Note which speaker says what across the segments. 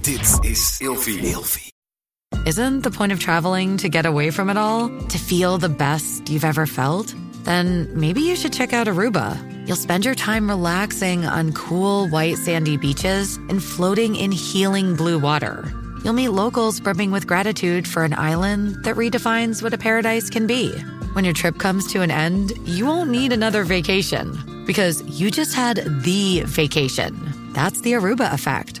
Speaker 1: Dit is Ilfie.
Speaker 2: Isn't the point of traveling to get away from it all? To feel the best you've ever felt? Then maybe you should check out Aruba. You'll spend your time relaxing on cool, white, sandy beaches and floating in healing blue water. You'll meet locals brimming with gratitude for an island that redefines what a paradise can be. When your trip comes to an end, you won't need another vacation because you just had the vacation. That's the Aruba effect.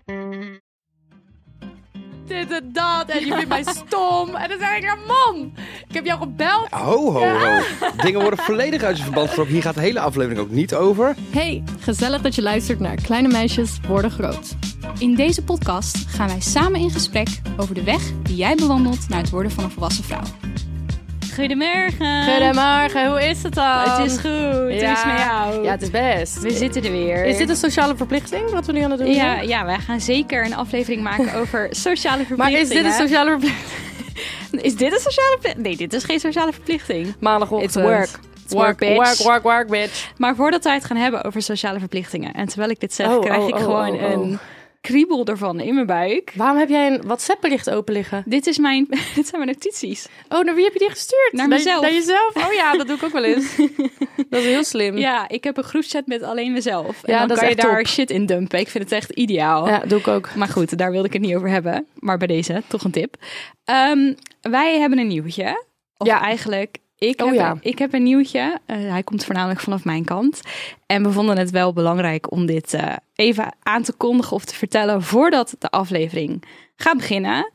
Speaker 3: dit en dat. En je vindt mij stom. En dan zeg ik, man, ik heb jou gebeld.
Speaker 4: Ho, ho, ho. Dingen worden volledig uit zijn verband getrokken. Hier gaat de hele aflevering ook niet over.
Speaker 5: Hey, gezellig dat je luistert naar Kleine Meisjes Worden Groot. In deze podcast gaan wij samen in gesprek over de weg die jij bewandelt naar het worden van een volwassen vrouw.
Speaker 6: Goedemorgen.
Speaker 3: Goedemorgen, hoe is het dan?
Speaker 6: Het is goed. Het is met jou.
Speaker 3: Ja, het is best.
Speaker 6: We zitten er weer.
Speaker 3: Is dit een sociale verplichting wat we nu aan het doen
Speaker 6: ja,
Speaker 3: zijn?
Speaker 6: ja, wij gaan zeker een aflevering maken over sociale verplichtingen.
Speaker 3: Maar is dit een sociale verplichting?
Speaker 6: Is dit een sociale verplichting? Nee, dit is geen sociale verplichting.
Speaker 3: Maandagochtend.
Speaker 6: It's work. It's work, bitch.
Speaker 3: work, work, work, bitch.
Speaker 6: Maar voordat wij het gaan hebben over sociale verplichtingen... en terwijl ik dit zeg,
Speaker 3: Oh,
Speaker 6: krijg
Speaker 3: oh,
Speaker 6: ik
Speaker 3: oh,
Speaker 6: gewoon
Speaker 3: oh, oh.
Speaker 6: een kriebel ervan in mijn buik.
Speaker 3: Waarom heb jij een WhatsApp-bericht open liggen?
Speaker 6: Dit, is mijn, dit zijn mijn notities.
Speaker 3: Oh, naar wie heb je die gestuurd?
Speaker 6: Naar
Speaker 3: Bij-
Speaker 6: mezelf.
Speaker 3: Naar jezelf? Oh ja, dat doe ik ook wel eens. dat is heel slim.
Speaker 6: Ja, ik heb een groepschat met alleen mezelf. En
Speaker 3: Ja,
Speaker 6: dan
Speaker 3: dat is
Speaker 6: kan je
Speaker 3: echt
Speaker 6: daar
Speaker 3: top.
Speaker 6: shit in dumpen. Ik vind het echt ideaal.
Speaker 3: Ja, doe ik ook.
Speaker 6: Maar goed, daar wilde ik het niet over hebben. Maar bij deze, toch een tip. Ehm, wij hebben een nieuwtje. Of
Speaker 3: Ja.
Speaker 6: eigenlijk, ik,
Speaker 3: Oh
Speaker 6: heb,
Speaker 3: ja.
Speaker 6: ik heb een nieuwtje. Eh, hij komt voornamelijk vanaf mijn kant. En we vonden het wel belangrijk om dit eh, even aan te kondigen of te vertellen... voordat de aflevering gaat beginnen.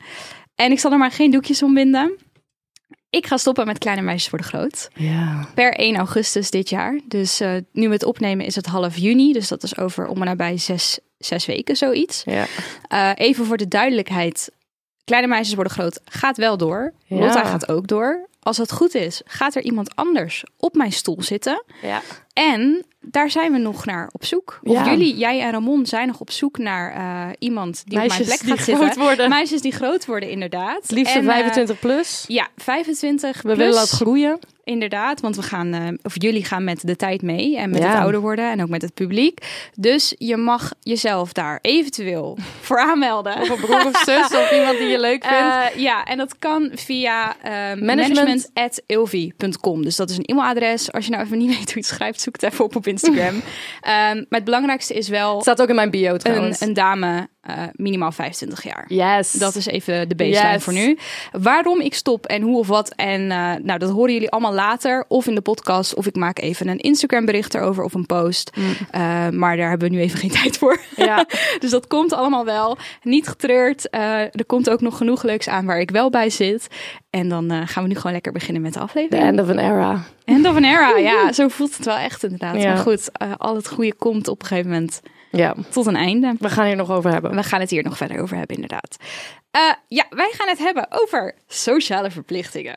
Speaker 6: En ik zal er maar geen doekjes om binden. Ik ga stoppen met Kleine Meisjes voor de Groot
Speaker 3: Ja.
Speaker 6: per 1 augustus dit jaar. Dus eh, nu met opnemen is het half juni. Dus dat is over om en nabij zes, zes weken zoiets.
Speaker 3: Ja.
Speaker 6: Eh, even voor de duidelijkheid. Kleine meisjes worden groot gaat wel door.
Speaker 3: Ja.
Speaker 6: Lotta gaat ook door. Als dat goed is, gaat er iemand anders op mijn stoel zitten.
Speaker 3: ja.
Speaker 6: En daar zijn we nog naar op zoek. Of
Speaker 3: Ja.
Speaker 6: jullie, jij en Ramon, zijn nog op zoek naar eh, iemand die op
Speaker 3: Meisjes
Speaker 6: mijn plek
Speaker 3: die
Speaker 6: gaat zitten.
Speaker 3: groot worden.
Speaker 6: Meisjes die groot worden, inderdaad.
Speaker 3: Het liefste
Speaker 6: En, eh,
Speaker 3: 25 plus.
Speaker 6: ja, 25
Speaker 3: We willen
Speaker 6: plus.
Speaker 3: dat groeien.
Speaker 6: Inderdaad, want we gaan, eh, of jullie gaan met de tijd mee en met
Speaker 3: Ja.
Speaker 6: het ouder worden en ook met het publiek. Dus je mag jezelf daar eventueel voor aanmelden.
Speaker 3: Of een broer of zus of iemand die je leuk vindt.
Speaker 6: Eh, ja, en dat kan via eh
Speaker 3: Management.
Speaker 6: management.ilvi.com. Dus dat is een e-mailadres. Als je nou even niet weet hoe je het schrijft, zoek het even op op Instagram. Ehm, maar het belangrijkste is wel
Speaker 3: staat ook in mijn bio
Speaker 6: een,
Speaker 3: trouwens.
Speaker 6: een dame eh, minimaal 25 jaar.
Speaker 3: Yes.
Speaker 6: Dat is even de baseline
Speaker 3: Yes.
Speaker 6: voor nu. Waarom ik stop en hoe of wat. En eh, nou, dat horen jullie allemaal later. Of in de podcast. Of ik maak even een Instagram bericht erover of een post. Eh, maar daar hebben we nu even geen tijd voor.
Speaker 3: Mm. Ja.
Speaker 6: dus dat komt allemaal wel. Niet getreurd. Eh, er komt ook nog genoeg leuks aan waar ik wel bij zit. En dan eh, gaan we nu gewoon lekker beginnen met de
Speaker 3: The
Speaker 6: aflevering.
Speaker 3: end of an era.
Speaker 6: End of an era. Ja, zo voelt het wel echt inderdaad.
Speaker 3: Ja.
Speaker 6: Maar goed, eh, al het goede komt op een gegeven moment
Speaker 3: Ja,
Speaker 6: tot een einde.
Speaker 3: we gaan hier nog over hebben.
Speaker 6: We gaan het hier nog verder over hebben, inderdaad. Eh, ja, wij gaan het hebben over sociale verplichtingen.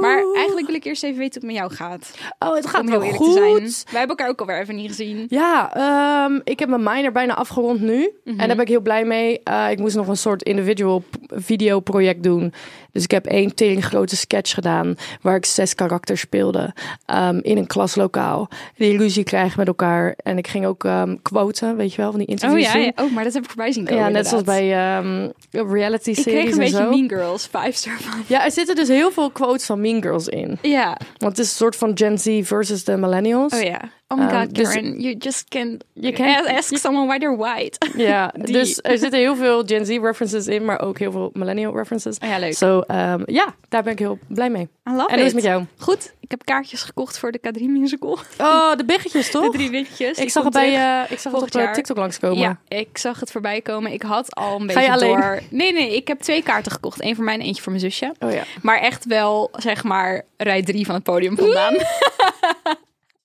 Speaker 6: Maar eigenlijk wil ik eerst even weten hoe het met jou gaat.
Speaker 3: oh, het gaat
Speaker 6: om heel
Speaker 3: wel
Speaker 6: eerlijk
Speaker 3: goed.
Speaker 6: te zijn. Wij hebben elkaar ook alweer even niet gezien.
Speaker 3: Ja, ehm, ik heb mijn minor bijna afgerond nu.
Speaker 6: Mhm.
Speaker 3: En daar ben ik heel blij mee. Eh, ik moest nog een soort individual p- videoproject doen. Dus ik heb één tering grote sketch gedaan... waar ik zes karakters speelde ehm, in een klaslokaal. Die ruzie krijgen met elkaar. En ik ging ook ehm quoten, weet je wel, van die
Speaker 6: Oh
Speaker 3: interviews
Speaker 6: ja, ja.
Speaker 3: doen.
Speaker 6: Oh, maar dat heb ik voorbij zien
Speaker 3: Ja,
Speaker 6: komen.
Speaker 3: net zoals
Speaker 6: inderdaad.
Speaker 3: bij ehm reality
Speaker 6: Ik kreeg
Speaker 3: series
Speaker 6: een
Speaker 3: en
Speaker 6: beetje
Speaker 3: zo.
Speaker 6: Mean Girls, five star van.
Speaker 3: Ja, er zitten dus heel veel quotes van Mean Girls in.
Speaker 6: Ja,
Speaker 3: Want het is een soort van Gen Z versus de millennials.
Speaker 6: oh ja. Oh my
Speaker 3: Ehm,
Speaker 6: god,
Speaker 3: dus-
Speaker 6: Karen, you just can't,
Speaker 3: Je kent-
Speaker 6: ask someone why they're white.
Speaker 3: Ja,
Speaker 6: Die.
Speaker 3: dus er zitten heel veel Gen Z references in, maar ook heel veel millennial references.
Speaker 6: Oh ja, leuk.
Speaker 3: Zo, ehm, ja, daar ben ik heel blij mee.
Speaker 6: I love
Speaker 3: en hoe is het
Speaker 6: it.
Speaker 3: met jou?
Speaker 6: Goed, ik heb kaartjes gekocht voor de K3 musical.
Speaker 3: Oh, de biggetjes toch?
Speaker 6: De drie witjes.
Speaker 3: ik zag het bij, eh, ik zag het op
Speaker 6: volgend
Speaker 3: eh,
Speaker 6: jaar.
Speaker 3: TikTok langskomen.
Speaker 6: Ja, ik zag het voorbij komen. Ik had al een
Speaker 3: Ga
Speaker 6: beetje
Speaker 3: je alleen?
Speaker 6: door. Nee, nee, ik heb twee kaarten gekocht. Eén voor mij en eentje voor mijn zusje.
Speaker 3: Oh ja.
Speaker 6: Maar echt wel, zeg maar, rij drie van het podium vandaan.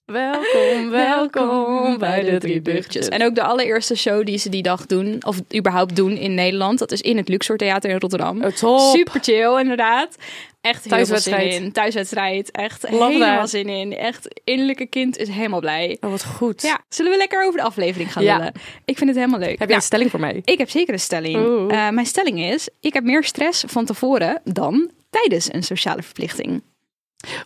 Speaker 3: Welkom, welkom bij de drie biggetjes.
Speaker 6: En ook de allereerste show die ze die dag doen, of überhaupt doen in Nederland. Dat is in het Luxor Theater in Rotterdam.
Speaker 3: Oh, top.
Speaker 6: Super chill, inderdaad. echt heel veel zin
Speaker 3: Thuiswedstrijd.
Speaker 6: in. Thuiswedstrijd, echt
Speaker 3: Love
Speaker 6: helemaal
Speaker 3: that.
Speaker 6: zin in. Echt, innerlijke kind is helemaal blij.
Speaker 3: Oh, wat goed.
Speaker 6: Ja, zullen we lekker over de aflevering gaan
Speaker 3: Ja.
Speaker 6: lullen? Ik vind het helemaal leuk.
Speaker 3: Heb je
Speaker 6: Nou,
Speaker 3: een stelling voor mij?
Speaker 6: ik heb zeker een stelling.
Speaker 3: Oeh.
Speaker 6: Eh, mijn stelling is, ik heb meer stress van tevoren dan tijdens een sociale verplichting.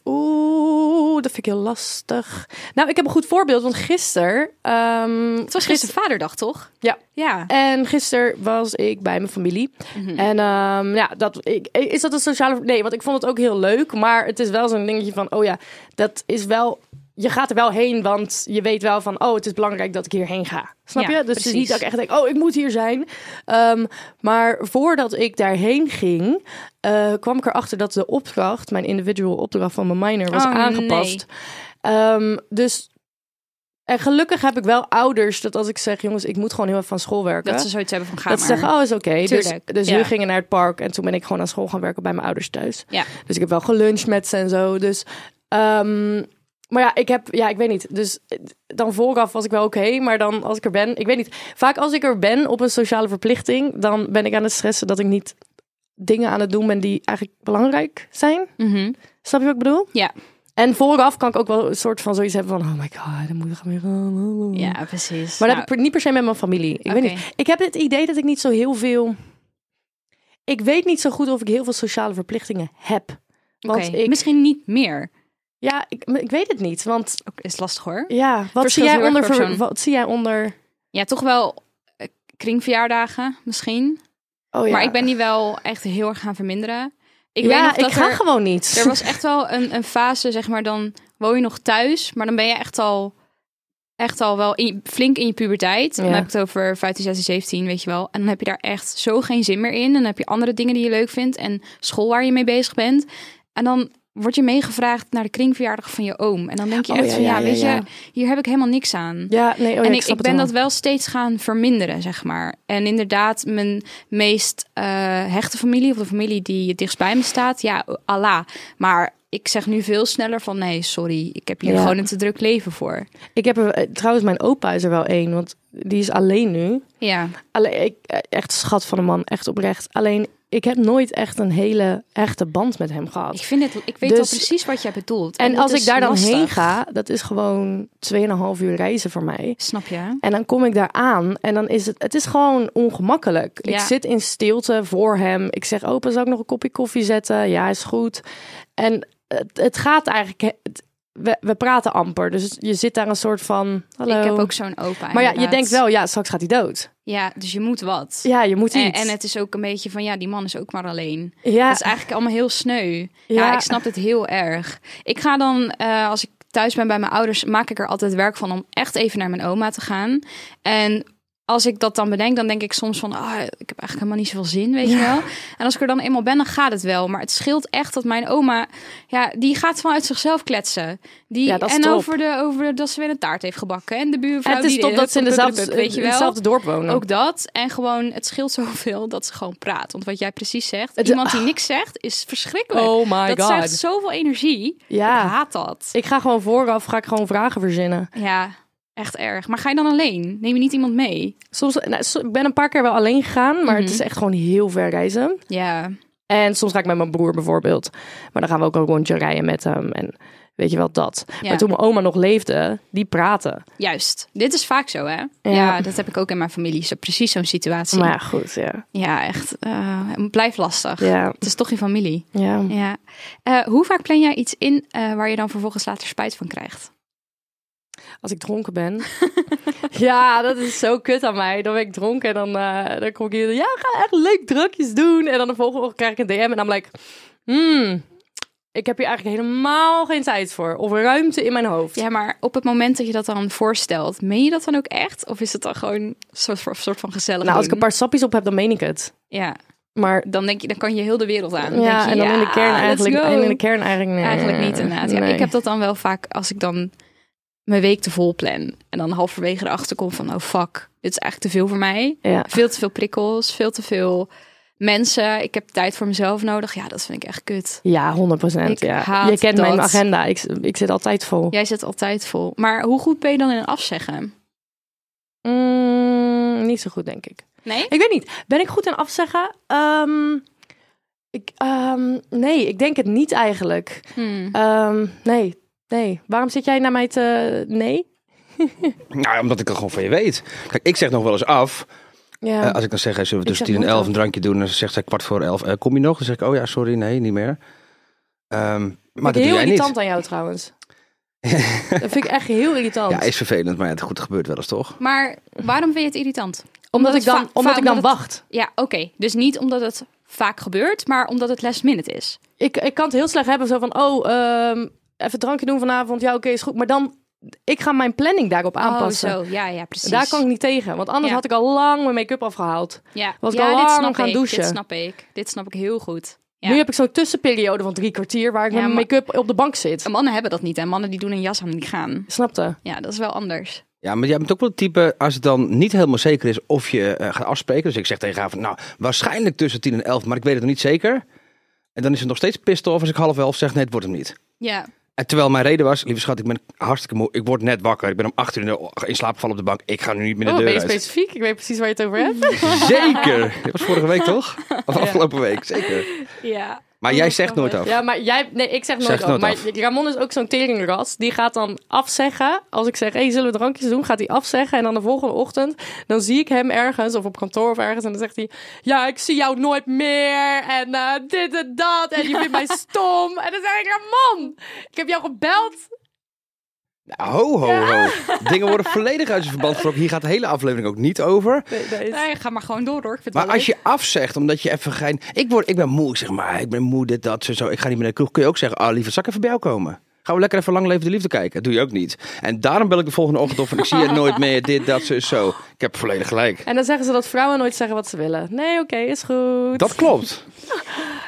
Speaker 3: Oeh, dat vind ik heel lastig. Nou, ik heb een goed voorbeeld, want gisteren... ehm,
Speaker 6: Het was gisteren vaderdag, toch?
Speaker 3: Ja.
Speaker 6: Ja.
Speaker 3: En gisteren was ik bij mijn familie.
Speaker 6: Mhm.
Speaker 3: En ehm, ja, dat, ik, is dat een sociale... Nee, want ik vond het ook heel leuk. Maar het is wel zo'n dingetje van... Oh ja, dat is wel... Je gaat er wel heen, want je weet wel van... Oh, het is belangrijk dat ik hierheen ga. Snap
Speaker 6: Ja,
Speaker 3: je? Dus het is
Speaker 6: precies.
Speaker 3: niet dat ik echt denk... Oh, ik moet hier zijn. Ehm, maar voordat ik daarheen ging... eh, kwam ik erachter dat de opdracht... Mijn individual opdracht van mijn minor was
Speaker 6: Oh, nee.
Speaker 3: aangepast. Ehm, dus... En gelukkig heb ik wel ouders dat als ik zeg, jongens, ik moet gewoon heel even van school werken.
Speaker 6: Dat ze zoiets hebben van ga
Speaker 3: Dat ze
Speaker 6: maar.
Speaker 3: zeggen, oh, is oké. Dus,
Speaker 6: Tuurlijk,
Speaker 3: dus
Speaker 6: ja.
Speaker 3: hun gingen naar het park en toen ben ik gewoon aan school gaan werken bij mijn ouders thuis.
Speaker 6: Ja.
Speaker 3: Dus ik heb wel geluncht met ze en zo. Dus, ehm, maar ja, ik heb, ja, ik weet niet. Dus eh, dan vooraf was ik wel oké, maar dan als ik er ben, ik weet niet. Vaak als ik er ben op een sociale verplichting, dan ben ik aan het stressen dat ik niet dingen aan het doen ben die eigenlijk belangrijk zijn.
Speaker 6: Mhm.
Speaker 3: Snap je wat ik bedoel?
Speaker 6: Ja.
Speaker 3: En vooraf kan ik ook wel een soort van zoiets hebben van, oh my god, dan moet ik gaan weer.
Speaker 6: Ja, precies.
Speaker 3: Maar
Speaker 6: Nou,
Speaker 3: dat heb ik niet per se met mijn familie. Ik weet
Speaker 6: Oké.
Speaker 3: niet. Ik heb het idee dat ik niet zo heel veel. Ik weet niet zo goed of ik heel veel sociale verplichtingen heb. Want
Speaker 6: oké.
Speaker 3: ik,
Speaker 6: Misschien niet meer.
Speaker 3: ja, ik, ik weet het niet. Want
Speaker 6: Ook is lastig hoor.
Speaker 3: ja, wat zie
Speaker 6: Verschilt
Speaker 3: jij
Speaker 6: heel erg
Speaker 3: onder.
Speaker 6: per
Speaker 3: ver-
Speaker 6: persoon.
Speaker 3: wat zie jij onder.
Speaker 6: Ja, toch wel eh, kringverjaardagen misschien.
Speaker 3: Oh ja.
Speaker 6: Maar ik ben die wel echt heel erg gaan verminderen. Ik
Speaker 3: Ik ja,
Speaker 6: weet nog dat
Speaker 3: ik ga
Speaker 6: er,
Speaker 3: gewoon niet.
Speaker 6: er was echt wel een, een fase, zeg maar, dan woon je nog thuis, maar dan ben je echt al, echt al wel in, je- flink in je puberteit.
Speaker 3: Ja.
Speaker 6: Dan heb ik het over 15, 16, 17, weet je wel. En dan heb je daar echt zo geen zin meer in. En dan heb je andere dingen die je leuk vindt en school waar je mee bezig bent. En dan word je meegevraagd naar de kringverjaardag van je oom. En dan denk je
Speaker 3: Oh,
Speaker 6: echt
Speaker 3: ja,
Speaker 6: van,
Speaker 3: ja,
Speaker 6: ja,
Speaker 3: ja,
Speaker 6: weet
Speaker 3: ja.
Speaker 6: je, hier heb ik helemaal niks aan.
Speaker 3: Ja, nee, oh ja,
Speaker 6: en
Speaker 3: ik,
Speaker 6: ik,
Speaker 3: snap
Speaker 6: ik
Speaker 3: het
Speaker 6: ben
Speaker 3: wel.
Speaker 6: dat wel steeds gaan verminderen, zeg maar. En inderdaad, mijn meest eh, hechte familie, of de familie die het dichtst bij me staat, ja, Allah. Maar ik zeg nu veel sneller van nee, sorry, ik heb hier
Speaker 3: Ja.
Speaker 6: gewoon een te druk leven voor.
Speaker 3: Ik heb er, eh, trouwens, mijn opa is er wel één, want die is alleen nu.
Speaker 6: Ja,
Speaker 3: Alleen, ik, eh, echt schat van een man, echt oprecht. Alleen, ik heb nooit echt een hele echte band met hem gehad.
Speaker 6: ik, vind het, ik weet
Speaker 3: Dus-
Speaker 6: al precies wat jij bedoelt.
Speaker 3: En
Speaker 6: het
Speaker 3: als ik
Speaker 6: is
Speaker 3: daar dan
Speaker 6: lastig.
Speaker 3: heen ga, dat is gewoon 2,5 uur reizen voor mij.
Speaker 6: Snap je?
Speaker 3: En dan kom ik daar aan en dan is het, het is gewoon ongemakkelijk. Ik
Speaker 6: Ja.
Speaker 3: zit in stilte voor hem. Ik zeg, opa, zal ik nog een kopje koffie zetten? Ja, is goed. En het, het gaat eigenlijk, het- we, we praten amper. Dus je zit daar een soort van, hallo.
Speaker 6: Ik heb ook zo'n opa.
Speaker 3: maar ja, je
Speaker 6: inderdaad.
Speaker 3: denkt wel, ja, straks gaat hij dood.
Speaker 6: Ja, dus je moet wat.
Speaker 3: Ja, je moet
Speaker 6: En,
Speaker 3: iets.
Speaker 6: en het is ook een beetje van ja, die man is ook maar alleen.
Speaker 3: ja,
Speaker 6: Dat is eigenlijk allemaal heel sneu. Ja,
Speaker 3: Ja.
Speaker 6: ik snap het heel erg. Ik ga dan, eh, als ik thuis ben bij mijn ouders, maak ik er altijd werk van om echt even naar mijn oma te gaan. En als ik dat dan bedenk, dan denk ik soms van, ah, ik heb eigenlijk helemaal niet zoveel zin, weet je wel. En als ik er dan eenmaal ben, dan gaat het wel. Maar het scheelt echt dat mijn oma, ja, die gaat vanuit zichzelf kletsen. Die,
Speaker 3: Ja, dat is
Speaker 6: en
Speaker 3: top.
Speaker 6: over, de, over dat ze weer een taart heeft gebakken. En de
Speaker 3: En
Speaker 6: buurvrouw
Speaker 3: het is
Speaker 6: die
Speaker 3: top dat ze in, dezelfde,
Speaker 6: weet je
Speaker 3: in
Speaker 6: wel.
Speaker 3: hetzelfde dorp wonen.
Speaker 6: Ook dat. En gewoon, het scheelt zoveel dat ze gewoon praat. Want wat jij precies zegt,
Speaker 3: Het-
Speaker 6: iemand die niks zegt, is verschrikkelijk.
Speaker 3: Oh my
Speaker 6: dat
Speaker 3: God.
Speaker 6: zuigt zoveel energie.
Speaker 3: Ja.
Speaker 6: Ik haat dat.
Speaker 3: ik ga gewoon vooraf, ga ik gewoon vragen verzinnen.
Speaker 6: Ja, echt erg. Maar ga je dan alleen? Neem je niet iemand mee?
Speaker 3: Soms, nou, so- ik ben een paar keer wel alleen gegaan, maar
Speaker 6: Mhm.
Speaker 3: het is echt gewoon heel ver reizen.
Speaker 6: Ja.
Speaker 3: En soms ga ik met mijn broer bijvoorbeeld. Maar dan gaan we ook een rondje rijden met hem. En weet je wel dat.
Speaker 6: Ja.
Speaker 3: Maar toen mijn oma nog leefde, die praten.
Speaker 6: Juist. Dit is vaak zo, hè? Ja, dat heb ik ook in mijn familie. Zo, precies zo'n situatie.
Speaker 3: Maar ja, goed, ja.
Speaker 6: Ja, echt. eh blijf lastig.
Speaker 3: Ja,
Speaker 6: Het is toch je familie.
Speaker 3: ja.
Speaker 6: Ja. Eh, hoe vaak plan jij iets in eh, waar je dan vervolgens later spijt van krijgt?
Speaker 3: Als ik dronken ben. ja, dat is zo kut aan mij. Dan ben ik dronken en dan, eh, dan kom ik hier. Ja, we gaan echt leuk drukjes doen. En dan de volgende ochtend krijg ik een DM en dan blijkt. Hmm, ik heb hier eigenlijk helemaal geen tijd voor. Of ruimte in mijn hoofd.
Speaker 6: Ja, maar op het moment dat je dat dan voorstelt, meen je dat dan ook echt? Of is het dan gewoon een soort, een soort van gezellig?
Speaker 3: nou, als ik
Speaker 6: doen?
Speaker 3: een paar sappies op heb, dan meen ik het.
Speaker 6: Ja,
Speaker 3: Maar
Speaker 6: dan denk je, dan kan je heel de wereld aan. Dan denk
Speaker 3: ja,
Speaker 6: je,
Speaker 3: en dan in de kern
Speaker 6: let's
Speaker 3: eigenlijk.
Speaker 6: go.
Speaker 3: En in de kern eigenlijk, nee.
Speaker 6: Eigenlijk niet inderdaad. Ja,
Speaker 3: Nee.
Speaker 6: Ik heb dat dan wel vaak als ik dan mijn week te vol plan. En dan halverwege erachter kom van, oh fuck, dit is eigenlijk te veel voor mij.
Speaker 3: Ja.
Speaker 6: Veel te veel prikkels, veel te veel mensen. Ik heb tijd voor mezelf nodig. Ja, dat vind ik echt kut.
Speaker 3: Ja, 100 procent.
Speaker 6: Ik
Speaker 3: Ja.
Speaker 6: haat
Speaker 3: Je kent mijn
Speaker 6: dat.
Speaker 3: agenda. Ik, ik zit altijd vol.
Speaker 6: Jij zit altijd vol. Maar hoe goed ben je dan in afzeggen?
Speaker 3: Mm, niet zo goed, denk ik.
Speaker 6: Nee?
Speaker 3: Ik weet niet. Ben ik goed in afzeggen? Ehm, Ik, ehm, nee, ik denk het niet eigenlijk. Ehm, nee, nee. Waarom zit jij naar mij te... Nee?
Speaker 4: Nou, omdat ik er gewoon van je weet. Kijk, ik zeg nog wel eens af.
Speaker 3: Ja.
Speaker 4: Eh, als ik dan zeg, hey, zullen we
Speaker 3: Oh. Ik zeg
Speaker 4: tussen 10 en
Speaker 3: nooit
Speaker 4: 11
Speaker 3: af.
Speaker 4: een drankje doen? En dan zegt zij kwart voor 11, eh, kom je nog? Dan zeg ik, oh ja, sorry, nee, niet meer. Ehm, maar
Speaker 3: Vind ik
Speaker 4: dat doe
Speaker 3: heel
Speaker 4: jij
Speaker 3: irritant
Speaker 4: niet.
Speaker 3: aan jou trouwens. dat vind ik echt heel irritant.
Speaker 4: Ja, is vervelend, maar ja, het goed gebeurt wel eens toch?
Speaker 6: Maar waarom vind je het irritant?
Speaker 3: omdat, ik
Speaker 6: het
Speaker 3: dan,
Speaker 6: va-
Speaker 3: omdat
Speaker 6: va-
Speaker 3: ik dan
Speaker 6: omdat het-
Speaker 3: wacht.
Speaker 6: Ja, oké. Dus niet omdat het vaak gebeurt, maar omdat het last minute is.
Speaker 3: Ik, ik kan het heel slecht hebben. Zo van, oh, ehm, even een drankje doen vanavond. Ja, oké, is goed. Maar dan, ik ga mijn planning daarop aanpassen.
Speaker 6: Oh, zo. Ja, ja, precies.
Speaker 3: Daar kan ik niet tegen. Want anders
Speaker 6: Ja.
Speaker 3: had ik al lang mijn make-up afgehaald.
Speaker 6: ja.
Speaker 3: was ik
Speaker 6: ja,
Speaker 3: al
Speaker 6: dit
Speaker 3: lang
Speaker 6: snap
Speaker 3: gaan
Speaker 6: ik,
Speaker 3: douchen.
Speaker 6: Dit snap ik. Dit snap ik heel goed. Ja.
Speaker 3: Nu heb ik zo'n tussenperiode van drie kwartier... waar ik
Speaker 6: Ja,
Speaker 3: met mijn
Speaker 6: maar-
Speaker 3: make-up op de bank zit.
Speaker 6: Mannen hebben dat niet en mannen die doen een jas aan en die gaan.
Speaker 3: Snapte?
Speaker 6: Ja, dat is wel anders.
Speaker 4: Ja, maar jij bent ook wel het type, als het dan niet helemaal zeker is of je eh, gaat afspreken. Dus ik zeg tegen haar van, nou, waarschijnlijk tussen 10 en 11, maar ik weet het nog niet zeker. En dan is het nog steeds pissed off als ik half 11 zeg, nee, het wordt hem niet.
Speaker 6: Ja.
Speaker 4: En terwijl mijn reden was, lieve schat, ik ben hartstikke moe. Ik word net wakker. Ik ben om 8 uur in de- in slaap gevallen op de bank. Ik ga nu niet meer de
Speaker 3: Oh, ben
Speaker 4: deur
Speaker 3: je
Speaker 4: uit.
Speaker 3: specifiek? Ik weet precies waar je het over hebt.
Speaker 4: Zeker. Dit was vorige week toch? Of afgelopen week, zeker.
Speaker 6: Ja.
Speaker 4: Maar jij zegt nooit af.
Speaker 3: Ja, maar jij... Nee, ik zeg nooit
Speaker 4: Zeg
Speaker 3: af.
Speaker 4: nooit
Speaker 3: maar
Speaker 4: af.
Speaker 3: Ramon is ook zo'n teringras. Die gaat dan afzeggen. Als ik zeg, hey, zullen we drankjes doen? Gaat hij afzeggen. En dan de volgende ochtend, dan zie ik hem ergens. Of op kantoor of ergens. En dan zegt hij, ja, ik zie jou nooit meer. En eh, dit en dat. En je vindt mij stom. En dan zeg ik, Ramon, ik heb jou gebeld.
Speaker 4: Nou, ho, ho, ho. Dingen worden volledig uit zijn verband getrokken. Hier gaat de hele aflevering ook niet over.
Speaker 3: Nee, dat is-
Speaker 6: Nee, ga maar gewoon door hoor. Ik vind het
Speaker 4: Maar
Speaker 6: wel
Speaker 4: als je afzegt, omdat je even geen... Ik, word, ik ben moe, ik zeg maar. Ik ben moe, dit, dat, zo, zo. Ik ga niet meer naar de kroeg. Kun je ook zeggen, ah, lieve, zak even bij jou komen. Gaan we lekker even Lang Leven de Liefde kijken? Doe je ook niet. En daarom bel ik de volgende ochtend op van... Ik zie je nooit meer, dit, dat, zo, zo. Ik heb volledig gelijk.
Speaker 3: En dan zeggen ze dat vrouwen nooit zeggen wat ze willen. Nee, oké, is goed.
Speaker 4: Dat klopt.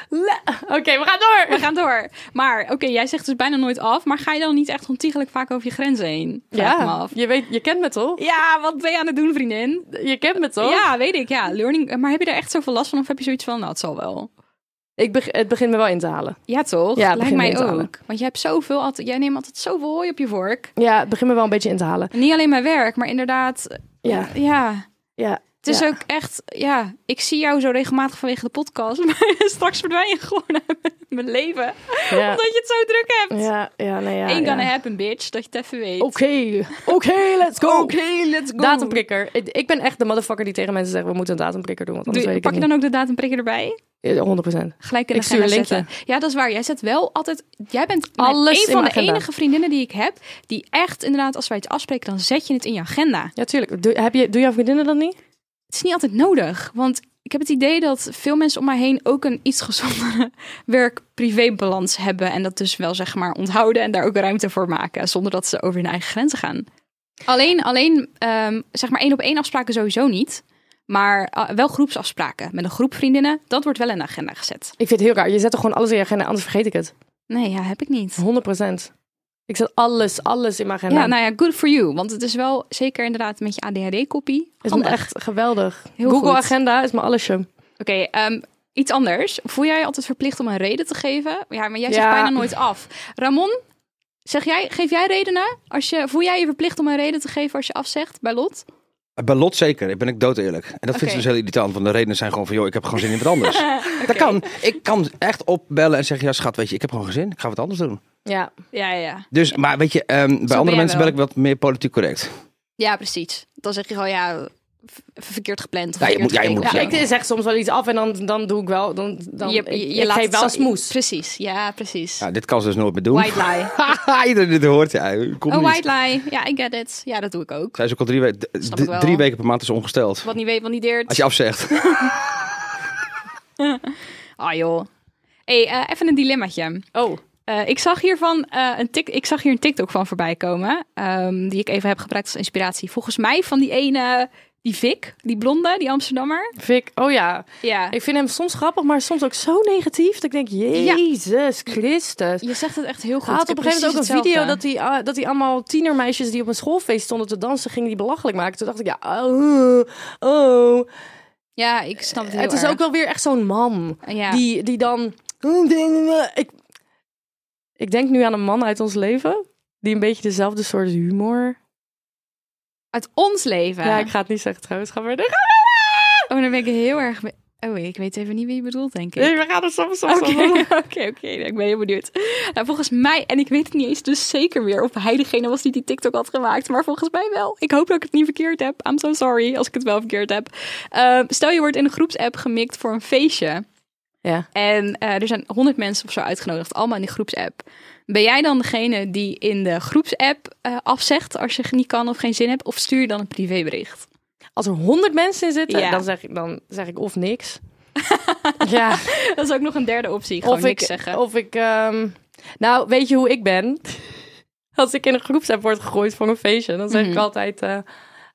Speaker 3: Le- Oké, we gaan door.
Speaker 6: We gaan door. Maar oké, jij zegt dus bijna nooit af. Maar ga je dan niet echt ontiegelijk vaak over je grenzen heen? Vraag ik me af.
Speaker 3: je, weet, je kent me toch?
Speaker 6: Ja, wat ben je aan het doen, vriendin?
Speaker 3: Je kent me toch?
Speaker 6: Ja, weet ik. Ja, learning. Maar heb je daar echt zoveel last van? Of heb je zoiets van, nou, het zal wel?
Speaker 3: Ik beg- het begint me wel in te halen.
Speaker 6: Ja, toch?
Speaker 3: Ja, het
Speaker 6: Lijkt
Speaker 3: begint in
Speaker 6: mij
Speaker 3: te halen.
Speaker 6: ook. Want jij hebt zoveel, altijd, jij neemt altijd zoveel hooi op je vork.
Speaker 3: Ja, het begint me wel een beetje in te halen.
Speaker 6: En niet alleen mijn werk, maar inderdaad, eh,
Speaker 3: Ja,
Speaker 6: ja.
Speaker 3: ja.
Speaker 6: Het is
Speaker 3: ja.
Speaker 6: ook echt, ja, ik zie jou zo regelmatig vanwege de podcast. Maar straks verdwijn je gewoon uit mijn leven.
Speaker 3: Ja,
Speaker 6: Omdat je het zo druk hebt.
Speaker 3: ja, ja, nee, ja.
Speaker 6: Ain't
Speaker 3: ja.
Speaker 6: gonna happen, bitch. Dat je het even weet.
Speaker 3: Oké, oké, let's go.
Speaker 6: let's go.
Speaker 3: Datumprikker. Ik- Ik ben echt de motherfucker die tegen mensen zegt, we moeten een datumprikker doen. Want anders
Speaker 6: Doe-
Speaker 3: weet ik
Speaker 6: pak je
Speaker 3: het
Speaker 6: dan ook de datumprikker erbij?
Speaker 3: niet. Ja, 100%.
Speaker 6: Gelijk in de
Speaker 3: Ik stuur een
Speaker 6: agenda
Speaker 3: linkje.
Speaker 6: zetten. Ja, dat is waar. Jij zet wel altijd... Jij bent mijn-
Speaker 3: Alles in
Speaker 6: een van
Speaker 3: mijn
Speaker 6: de
Speaker 3: agenda.
Speaker 6: enige vriendinnen die ik heb... die echt inderdaad, als wij het afspreken, dan zet je het in je agenda.
Speaker 3: Ja, tuurlijk. Doe, heb je, doe jouw vriendinnen dat niet?
Speaker 6: Het is niet altijd nodig. Want ik heb het idee dat veel mensen om mij heen... ook een iets gezondere werk-privé-balans hebben. En dat dus wel, zeg maar, onthouden. En daar ook ruimte voor maken. Zonder dat ze over hun eigen grenzen gaan. Alleen, alleen ehm, zeg maar, één-op-één afspraken sowieso niet... Maar eh, wel groepsafspraken met een groep vriendinnen, dat wordt wel in de agenda gezet.
Speaker 3: Ik vind het heel raar. Je zet toch gewoon alles in je agenda, anders vergeet ik het.
Speaker 6: Nee, ja, heb ik niet.
Speaker 3: 100%. Ik zet alles, alles in mijn agenda.
Speaker 6: Ja, nou ja, good for you. Want het is wel zeker inderdaad met je ADHD-kopie.
Speaker 3: is me echt geweldig.
Speaker 6: Heel
Speaker 3: Google
Speaker 6: goed.
Speaker 3: Agenda is mijn allesje.
Speaker 6: Oké, ehm, iets anders. Voel jij je altijd verplicht om een reden te geven? Ja, maar jij zegt
Speaker 3: Ja.
Speaker 6: bijna nooit af. Ramon, zeg jij, geef jij redenen? Als je, voel jij je verplicht om een reden te geven als je afzegt bij Lot?
Speaker 4: Eh, Bij Lot zeker, ik ben ik dood eerlijk. En dat vind
Speaker 6: Oké.
Speaker 4: ze dus heel irritant, want de redenen zijn gewoon van... joh, ik heb gewoon zin in wat anders. Dat kan. Ik kan echt opbellen en zeggen... ja, schat, weet je, ik heb gewoon geen zin. Ik ga wat anders doen.
Speaker 3: Ja,
Speaker 6: Ja, ja, ja.
Speaker 4: Dus, maar weet je, ehm, bij
Speaker 6: jij
Speaker 4: andere mensen
Speaker 6: wel.
Speaker 4: ben ik wat meer politiek correct.
Speaker 6: Ja, precies. Dan zeg je gewoon, ja, v- verkeerd gepland. of
Speaker 4: Ja, je moet- ja, je
Speaker 6: verkeerd
Speaker 4: moet-
Speaker 3: ja,
Speaker 6: gekeken.
Speaker 4: Ja.
Speaker 3: ik zeg soms wel iets af en dan, dan doe ik wel. Dan, dan,
Speaker 6: Je,
Speaker 3: ik-
Speaker 6: je,
Speaker 3: ik
Speaker 6: laat
Speaker 3: geef
Speaker 6: het
Speaker 3: wel
Speaker 6: zo-
Speaker 3: smoes.
Speaker 6: Precies, ja, precies.
Speaker 4: Ja, dit kan ze dus nooit meer doen.
Speaker 6: White lie.
Speaker 4: Haha, Iedereen die dit hoort, ja, kom
Speaker 6: Een
Speaker 4: niet.
Speaker 6: white lie. Ja, I get it. Ja, dat doe ik ook.
Speaker 4: Zij is ook al drie, we- d-
Speaker 6: Snap
Speaker 4: d-
Speaker 6: ik wel.
Speaker 4: drie weken per maand is ze ongesteld.
Speaker 6: Wat niet weet, wat niet deert.
Speaker 4: Als je afzegt.
Speaker 6: Ah joh. Hey, eh, even een dilemmaatje.
Speaker 3: Oh,
Speaker 6: Eh, ik, zag hiervan, eh, een tik, ik zag hier een TikTok van voorbij komen. ehm, die ik even heb gebruikt als inspiratie. Volgens mij van die ene, die Vic, die blonde, die Amsterdammer.
Speaker 3: Vic. Oh ja.
Speaker 6: Ja.
Speaker 3: Ik vind hem soms grappig, maar soms ook zo negatief. Dat ik denk, Jezus Christus.
Speaker 6: Je zegt het echt heel goed.
Speaker 3: Hij had
Speaker 6: Ik
Speaker 3: op een
Speaker 6: heb
Speaker 3: gegeven moment ook een
Speaker 6: precies
Speaker 3: video dat
Speaker 6: hetzelfde.
Speaker 3: hij, ah, dat hij allemaal tienermeisjes die op een schoolfeest stonden te dansen, gingen die belachelijk maken. Toen dacht ik, ja, oh, oh.
Speaker 6: Ja, ik snap het heel
Speaker 3: Het is
Speaker 6: erg.
Speaker 3: ook wel weer echt zo'n man.
Speaker 6: Ja.
Speaker 3: Die, die dan... Ik, ik denk nu aan een man uit ons leven, die een beetje dezelfde soort humor...
Speaker 6: Uit ons leven.
Speaker 3: Ja, ik ga het niet zeggen trouwens, ga verder.
Speaker 6: Oh, dan ben ik heel erg... be- Oh, ik weet even niet wie je bedoelt, denk ik.
Speaker 7: Nee, we gaan er soms soms
Speaker 6: Oké, oké, oké. Nou, ik ben heel benieuwd. Nou, volgens mij, en ik weet het niet eens dus zeker weer of hij degene was die die TikTok had gemaakt. Maar volgens mij wel. Ik hoop dat ik het niet verkeerd heb. I'm so sorry als ik het wel verkeerd heb. Eh, stel je wordt in een groepsapp gemikt voor een feestje.
Speaker 3: Ja.
Speaker 6: En eh, er zijn honderd mensen of zo uitgenodigd, allemaal in die groepsapp. Ben jij dan degene die in de groepsapp eh, afzegt als je niet kan of geen zin hebt? Of stuur je dan een privébericht?
Speaker 3: Als er honderd mensen in zitten,
Speaker 6: Ja.
Speaker 3: dan, zeg ik, dan zeg ik of niks. ja,
Speaker 6: Dat is ook nog een derde optie. Gewoon
Speaker 3: of
Speaker 6: niks
Speaker 3: ik,
Speaker 6: zeggen.
Speaker 3: Of ik, ehm, nou, weet je hoe ik ben? Als ik in een groepsapp word gegooid voor een feestje, dan zeg
Speaker 6: Mhm.
Speaker 3: ik altijd, eh,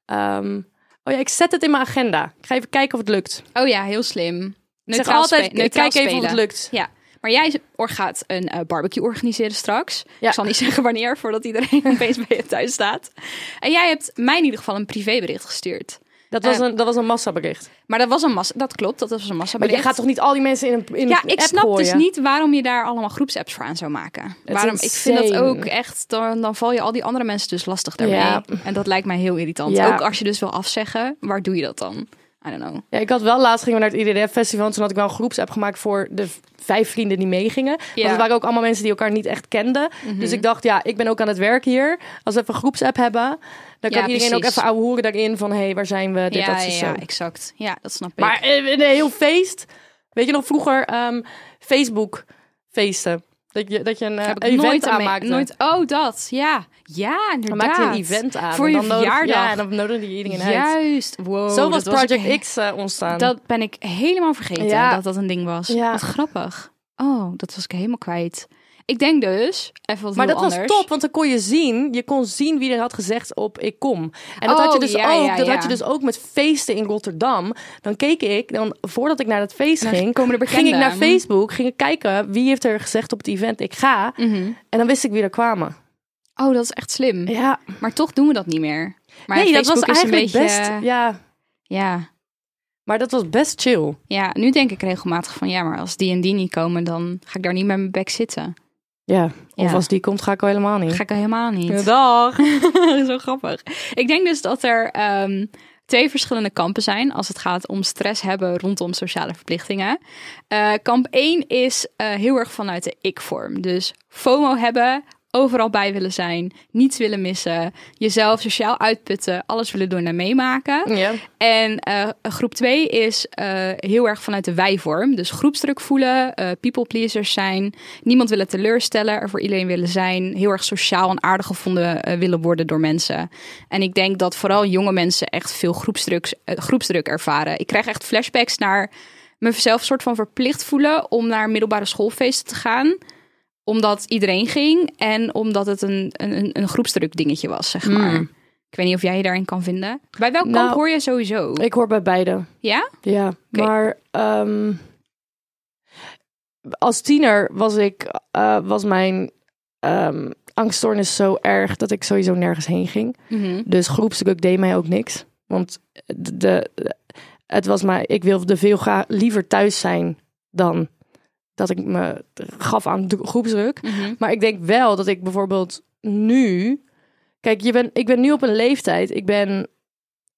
Speaker 3: ehm, oh ja, ik zet het in mijn agenda. Ik ga even kijken of het lukt.
Speaker 6: Oh ja, heel slim.
Speaker 3: Ik zeg
Speaker 6: Neutraal
Speaker 3: altijd,
Speaker 6: spe- neutraal
Speaker 3: kijk even of
Speaker 6: spelen.
Speaker 3: het lukt.
Speaker 6: Ja, maar jij or- gaat een eh, barbecue organiseren straks.
Speaker 3: Ja.
Speaker 6: Ik zal niet zeggen wanneer, voordat iedereen opeens bij je thuis staat. En jij hebt mij in ieder geval een privébericht gestuurd.
Speaker 3: Dat was
Speaker 6: Eh,
Speaker 3: een, dat was een massabericht.
Speaker 6: Maar dat was een massa, dat klopt, dat was een massa.
Speaker 3: Maar je gaat toch niet al die mensen in een, in
Speaker 6: Ja,
Speaker 3: een
Speaker 6: ik
Speaker 3: app
Speaker 6: snap dus
Speaker 3: gooien?
Speaker 6: niet waarom je daar allemaal groepsapps voor aan zou maken. Waarom? Ik vind dat
Speaker 3: insane.
Speaker 6: ook echt, dan, dan val je al die andere mensen dus lastig daarmee.
Speaker 3: Ja.
Speaker 6: En dat lijkt mij heel irritant.
Speaker 3: Ja.
Speaker 6: Ook als je dus wil afzeggen, waar doe je dat dan? I don't know.
Speaker 3: Ja, ik had wel laatst gingen we naar het IDDF-festival. en Toen had ik wel een groepsapp gemaakt voor de v- vijf vrienden die meegingen.
Speaker 6: Ja. Mhm.
Speaker 3: Want het waren ook allemaal mensen die elkaar niet echt kenden. Dus ik dacht, ja, ik ben ook aan het werk hier. Als we even een groepsapp hebben, dan kan
Speaker 6: Ja,
Speaker 3: iedereen ook
Speaker 6: precies.
Speaker 3: even ouwehoeren daarin. Van, hé, hey, waar zijn we? Dit,
Speaker 6: ja,
Speaker 3: dat,
Speaker 6: ja,
Speaker 3: is dus zo.
Speaker 6: ja, exact. Ja, dat snap ik.
Speaker 3: Maar eh, een heel feest. Weet je nog vroeger ehm, Facebook-feesten? Dat je, dat je een eh,
Speaker 6: Heb ik
Speaker 3: event
Speaker 6: nooit aan
Speaker 3: aanmaakte.
Speaker 6: Nooit, oh, dat. Ja. Ja,
Speaker 3: dan
Speaker 6: inderdaad.
Speaker 3: maakte je een event aan.
Speaker 6: Voor
Speaker 3: en
Speaker 6: je
Speaker 3: dan nodig-
Speaker 6: verjaardag.
Speaker 3: Ja, en dan nodigde je iedereen uit.
Speaker 6: Juist. Wow,
Speaker 3: Zo was
Speaker 6: dat ik
Speaker 3: Project
Speaker 6: he-
Speaker 3: X eh, ontstaan.
Speaker 6: Dat ben ik helemaal vergeten
Speaker 3: Ja.
Speaker 6: dat dat een ding was.
Speaker 3: Ja.
Speaker 6: Wat grappig. Oh, dat was ik helemaal kwijt. Ik denk dus, even wat
Speaker 3: Maar
Speaker 6: heel
Speaker 3: dat was
Speaker 6: anders.
Speaker 3: top, want dan kon je zien, je kon zien wie er had gezegd op ik kom. En dat, had, je
Speaker 6: Oh,
Speaker 3: dus
Speaker 6: ja,
Speaker 3: ook,
Speaker 6: ja,
Speaker 3: dat
Speaker 6: ja.
Speaker 3: had je dus ook met feesten in Rotterdam. Dan keek ik, dan, voordat ik naar dat feest
Speaker 6: Dan
Speaker 3: ging,
Speaker 6: komen de
Speaker 3: ging ik naar
Speaker 6: bekenden.
Speaker 3: Facebook, ging ik kijken wie heeft er gezegd op het event ik ga.
Speaker 6: Mhm.
Speaker 3: En dan wist ik wie er kwamen.
Speaker 6: Oh, dat is echt slim.
Speaker 3: Ja,
Speaker 6: Maar toch doen we dat niet meer. Maar
Speaker 3: nee, dat was
Speaker 6: Facebook is een
Speaker 3: eigenlijk
Speaker 6: beetje-
Speaker 3: best, ja,
Speaker 6: Ja.
Speaker 3: maar dat was best chill.
Speaker 6: ja, nu denk ik regelmatig van... ja, maar als die en die niet komen... dan ga ik daar niet met mijn bek zitten.
Speaker 3: Ja, of
Speaker 6: Ja.
Speaker 3: als die komt ga ik al helemaal niet.
Speaker 6: Ga ik al helemaal niet.
Speaker 3: Ja, Dag.
Speaker 6: Zo grappig. Ik denk dus dat er ehm, twee verschillende kampen zijn als het gaat om stress hebben rondom sociale verplichtingen. Eh, kamp 1 is eh, heel erg vanuit de ik-vorm. Dus FOMO hebben, overal bij willen zijn, niets willen missen, jezelf sociaal uitputten, alles willen doen en meemaken.
Speaker 3: Ja.
Speaker 6: En eh, groep 2 is eh, heel erg vanuit de wij-vorm. Dus groepsdruk voelen, eh, people pleasers zijn, niemand willen teleurstellen, er voor iedereen willen zijn, heel erg sociaal en aardig gevonden eh, willen worden door mensen. En ik denk dat vooral jonge mensen echt veel groepsdruk, eh, groepsdruk ervaren. Ik krijg echt flashbacks naar mezelf soort van verplicht voelen om naar middelbare schoolfeesten te gaan omdat iedereen ging en omdat het een, een, een- een groepsdruk dingetje was, zeg maar. Ik weet niet of jij je daarin kan vinden. Bij welk
Speaker 3: Hmm. Nou,
Speaker 6: kamp hoor je sowieso?
Speaker 3: Ik hoor bij beide.
Speaker 6: Ja?
Speaker 3: Ja,
Speaker 6: Oké.
Speaker 3: maar ehm, als tiener was ik eh, was mijn ehm, angststoornis zo erg dat ik sowieso nergens heen ging.
Speaker 6: Mhm.
Speaker 3: Dus groepsdruk deed mij ook niks, want de, de- het was mij ik wilde veel gra- liever thuis zijn dan dat ik me gaf aan dru- groepsdruk.
Speaker 6: Mhm.
Speaker 3: Maar ik denk wel dat ik bijvoorbeeld nu. Kijk, je ben, ik ben nu op een leeftijd. Ik ben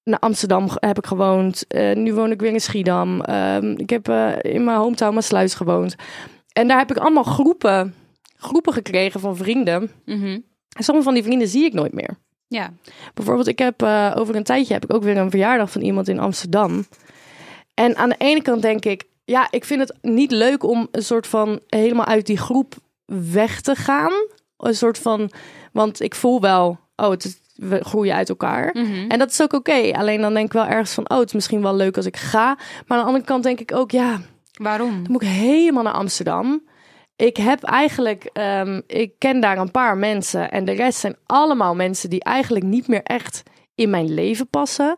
Speaker 3: naar Amsterdam ge- heb ik gewoond. Eh, nu woon ik weer in Schiedam. Ehm, ik heb eh, in mijn hometown mijn sluis gewoond. En daar heb ik allemaal groepen, groepen gekregen van vrienden.
Speaker 6: Mhm.
Speaker 3: En sommige van die vrienden zie ik nooit meer.
Speaker 6: Ja.
Speaker 3: Bijvoorbeeld, ik heb eh, over een tijdje heb ik ook weer een verjaardag van iemand in Amsterdam. En aan de ene kant denk ik, ja, ik vind het niet leuk om een soort van helemaal uit die groep weg te gaan. Een soort van, want ik voel wel, oh, het is- we groeien uit elkaar. En dat is ook oké. Alleen dan denk ik wel ergens van, oh, het is misschien wel leuk als ik ga. Maar aan de andere kant denk ik ook, ja,
Speaker 6: Waarom?
Speaker 3: dan moet ik helemaal naar Amsterdam. Ik heb eigenlijk, ehm, ik ken daar een paar mensen en de rest zijn allemaal mensen die eigenlijk niet meer echt in mijn leven passen.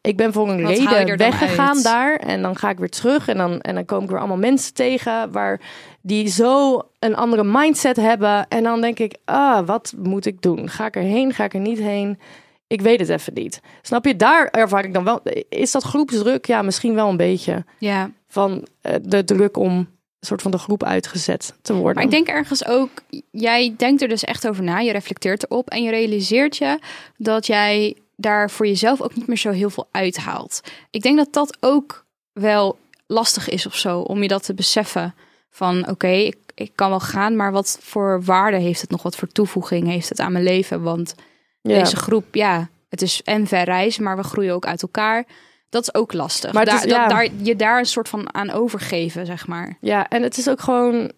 Speaker 3: Ik ben voor een
Speaker 6: Mhm. Wat haal je
Speaker 3: reden
Speaker 6: er dan
Speaker 3: weggegaan
Speaker 6: uit?
Speaker 3: daar en dan ga ik weer terug en dan, en dan kom ik weer allemaal mensen tegen waar die zo een andere mindset hebben. En dan denk ik, ah, wat moet ik doen? Ga ik erheen? Ga ik er niet heen? Ik weet het even niet. Snap je? Daar ervaar ik dan wel. Is dat groepsdruk? Ja, misschien wel een beetje
Speaker 6: Ja.
Speaker 3: van eh, de druk om een soort van de groep uitgezet te worden.
Speaker 6: Maar ik denk ergens ook, jij denkt er dus echt over na, je reflecteert erop en je realiseert je dat jij daar voor jezelf ook niet meer zo heel veel uithaalt. Ik denk dat dat ook wel lastig is of zo. Om je dat te beseffen van oké, ik, ik kan wel gaan, maar wat voor waarde heeft het nog? Wat voor toevoeging heeft het aan mijn leven? Want
Speaker 3: Ja.
Speaker 6: deze groep, ja, het is en ver reizen, maar we groeien ook uit elkaar. Dat is ook lastig.
Speaker 3: Maar het
Speaker 6: Daar-
Speaker 3: is- ja.
Speaker 6: dat, daar, je daar een soort van aan overgeven, zeg maar.
Speaker 3: Ja, en het is ook gewoon...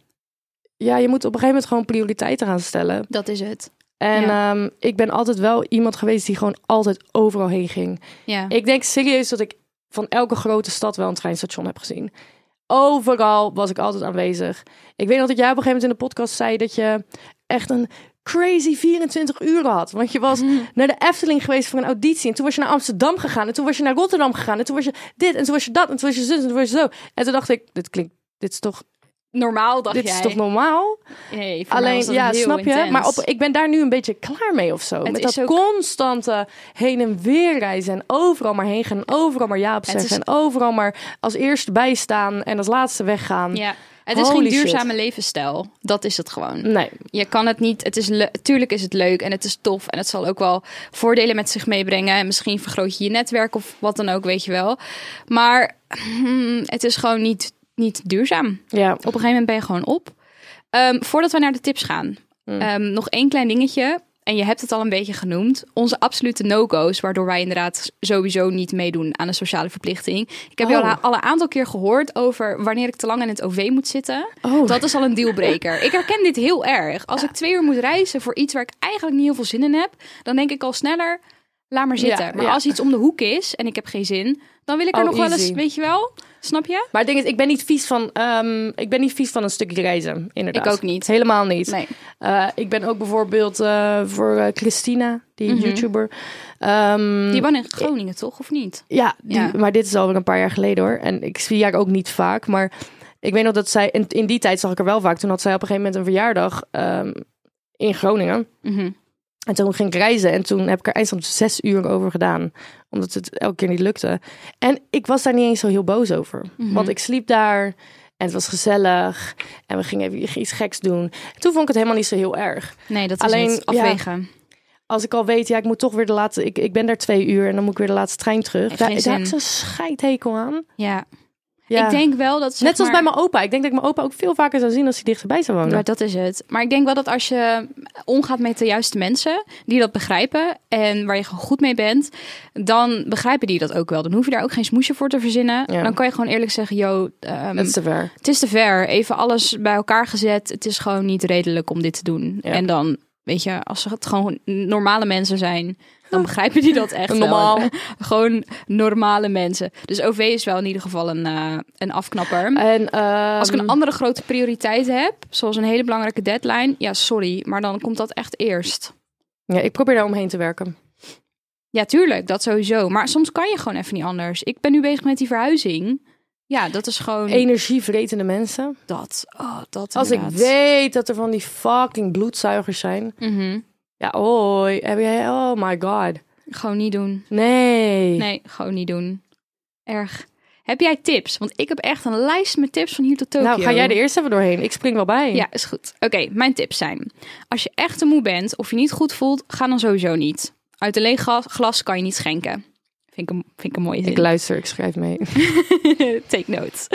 Speaker 3: Ja, je moet op een gegeven moment gewoon prioriteiten gaan stellen.
Speaker 6: Dat is het.
Speaker 3: En
Speaker 6: Ja.
Speaker 3: ehm, ik ben altijd wel iemand geweest die gewoon altijd overal heen ging.
Speaker 6: Ja.
Speaker 3: Ik denk serieus dat ik van elke grote stad wel een treinstation heb gezien. Overal was ik altijd aanwezig. Ik weet nog dat jij op een gegeven moment in de podcast zei dat je echt een crazy 24 uur had. Want je was naar de Efteling geweest voor een auditie. En toen was je naar Amsterdam gegaan. En toen was je naar Rotterdam gegaan. En toen was je dit. En toen was je dat. En toen was je zus. En toen was je zo. En toen dacht ik, dit klinkt... Dit is toch,
Speaker 6: Normaal dacht
Speaker 3: dit
Speaker 6: jij.
Speaker 3: is toch normaal?
Speaker 6: Nee, voor mij was
Speaker 3: Alleen,
Speaker 6: dat
Speaker 3: ja,
Speaker 6: heel
Speaker 3: snap je?
Speaker 6: intens.
Speaker 3: Maar op, ik ben daar nu een beetje klaar mee of zo. Met
Speaker 6: is
Speaker 3: dat
Speaker 6: ook-
Speaker 3: constante heen en weer reizen. En overal maar heen gaan. Overal maar ja op zeggen.
Speaker 6: is-
Speaker 3: En overal maar als eerste bijstaan. En als laatste weggaan.
Speaker 6: Ja. Het is
Speaker 3: Holy
Speaker 6: geen
Speaker 3: shit.
Speaker 6: duurzame levensstijl. Dat is het gewoon.
Speaker 3: Nee.
Speaker 6: Je kan het niet. Het is le- tuurlijk is het leuk en het is tof. En het zal ook wel voordelen met zich meebrengen. En misschien vergroot je je netwerk of wat dan ook, weet je wel. Maar hmm, het is gewoon niet, niet duurzaam.
Speaker 3: Ja.
Speaker 6: Op een gegeven moment ben je gewoon op. Ehm, voordat we naar de tips gaan,
Speaker 3: Hmm.
Speaker 6: ehm, nog één klein dingetje. En je hebt het al een beetje genoemd. Onze absolute no-go's, waardoor wij inderdaad sowieso niet meedoen aan de sociale verplichting. Ik heb je
Speaker 3: Oh.
Speaker 6: al, al een aantal keer gehoord over wanneer ik te lang in het OV moet zitten.
Speaker 3: Oh.
Speaker 6: Dat is al een dealbreaker. ik herken dit heel erg. Als ik twee uur moet reizen voor iets waar ik eigenlijk niet heel veel zin in heb, dan denk ik al sneller, laat maar zitten.
Speaker 3: Ja,
Speaker 6: maar
Speaker 3: ja.
Speaker 6: als iets om de hoek is en ik heb geen zin, dan wil ik er
Speaker 3: Oh,
Speaker 6: nog wel eens,
Speaker 3: easy.
Speaker 6: weet je wel? Snap je?
Speaker 3: Maar het ding is, ik ben niet vies van, ehm, ik ben niet vies van een stukje reizen. Inderdaad.
Speaker 6: Ik ook niet.
Speaker 3: Helemaal niet.
Speaker 6: Nee.
Speaker 3: Eh, ik ben ook bijvoorbeeld eh, voor eh, Christina, die YouTuber. Ehm,
Speaker 6: Mhm. Die wonen in Groningen, toch? Of niet?
Speaker 3: Ja, die-
Speaker 6: Ja.
Speaker 3: maar dit is alweer een paar jaar geleden hoor. En ik zie haar ook niet vaak. Maar ik weet nog dat zij... In, in die tijd zag ik haar wel vaak. Toen had zij op een gegeven moment een verjaardag ehm, in Groningen.
Speaker 6: Mhm.
Speaker 3: En toen ging ik reizen. En toen heb ik er eindelijk zes uur over gedaan. Omdat het elke keer niet lukte. En ik was daar niet eens zo heel boos over.
Speaker 6: Mhm.
Speaker 3: Want ik sliep daar. En het was gezellig. En we gingen even iets geks doen. En toen vond ik het helemaal niet zo heel erg.
Speaker 6: Nee, dat
Speaker 3: Alleen,
Speaker 6: is het. Afwegen.
Speaker 3: als ik al weet, ja, ik moet toch weer de laatste. Ik, ik ben daar twee uur en dan moet ik weer de laatste trein terug.
Speaker 6: Heeft
Speaker 3: Daar,
Speaker 6: geen
Speaker 3: daar heb
Speaker 6: zin.
Speaker 3: ik zo'n scheidhekel aan.
Speaker 6: Ja.
Speaker 3: Ja.
Speaker 6: Ik denk wel dat... zeg
Speaker 3: Net zoals
Speaker 6: maar-
Speaker 3: bij mijn opa. Ik denk dat ik mijn opa ook veel vaker zou zien als hij dichterbij zou wonen.
Speaker 6: Maar dat is het. Maar ik denk wel dat als je omgaat met de juiste mensen die dat begrijpen en waar je gewoon goed mee bent, dan begrijpen die dat ook wel. Dan hoef je daar ook geen smoesje voor te verzinnen.
Speaker 3: Ja.
Speaker 6: Dan kan je gewoon eerlijk zeggen, yo, ehm,
Speaker 3: Dat is te ver.
Speaker 6: het is te ver. Even alles bij elkaar gezet. Het is gewoon niet redelijk om dit te doen.
Speaker 3: Ja.
Speaker 6: En dan, weet je, als het gewoon normale mensen zijn, dan begrijpen die dat echt wel.
Speaker 3: Normaal.
Speaker 6: gewoon normale mensen. Dus OV is wel in ieder geval een, eh, een afknapper.
Speaker 3: En, ehm,
Speaker 6: Als ik een andere grote prioriteit heb, zoals een hele belangrijke deadline, ja, sorry, maar dan komt dat echt eerst.
Speaker 3: ja, ik probeer daar omheen te werken.
Speaker 6: Ja, tuurlijk, dat sowieso. Maar soms kan je gewoon even niet anders. Ik ben nu bezig met die verhuizing. Ja, dat is gewoon
Speaker 3: Energievretende mensen.
Speaker 6: dat. Oh, dat
Speaker 3: Als ik
Speaker 6: inderdaad.
Speaker 3: weet dat er van die fucking bloedzuigers zijn.
Speaker 6: Mhm.
Speaker 3: Ja, ooi. Heb jij, oh my god.
Speaker 6: Gewoon niet doen.
Speaker 3: Nee. Nou,
Speaker 6: Nee, gewoon niet doen. Erg. Heb jij tips? Want ik heb echt een lijst met tips van hier tot Tokio.
Speaker 3: Nou, ga jij er eerst even doorheen. Ik spring wel bij.
Speaker 6: Ja, is goed. Oké, mijn tips zijn: als je echt te moe bent of je niet goed voelt, ga dan sowieso niet. Uit een leeg glas- glas kan je niet schenken. Vind ik een, vind ik een mooie zin.
Speaker 3: Ik luister, ik schrijf mee.
Speaker 6: Take notes.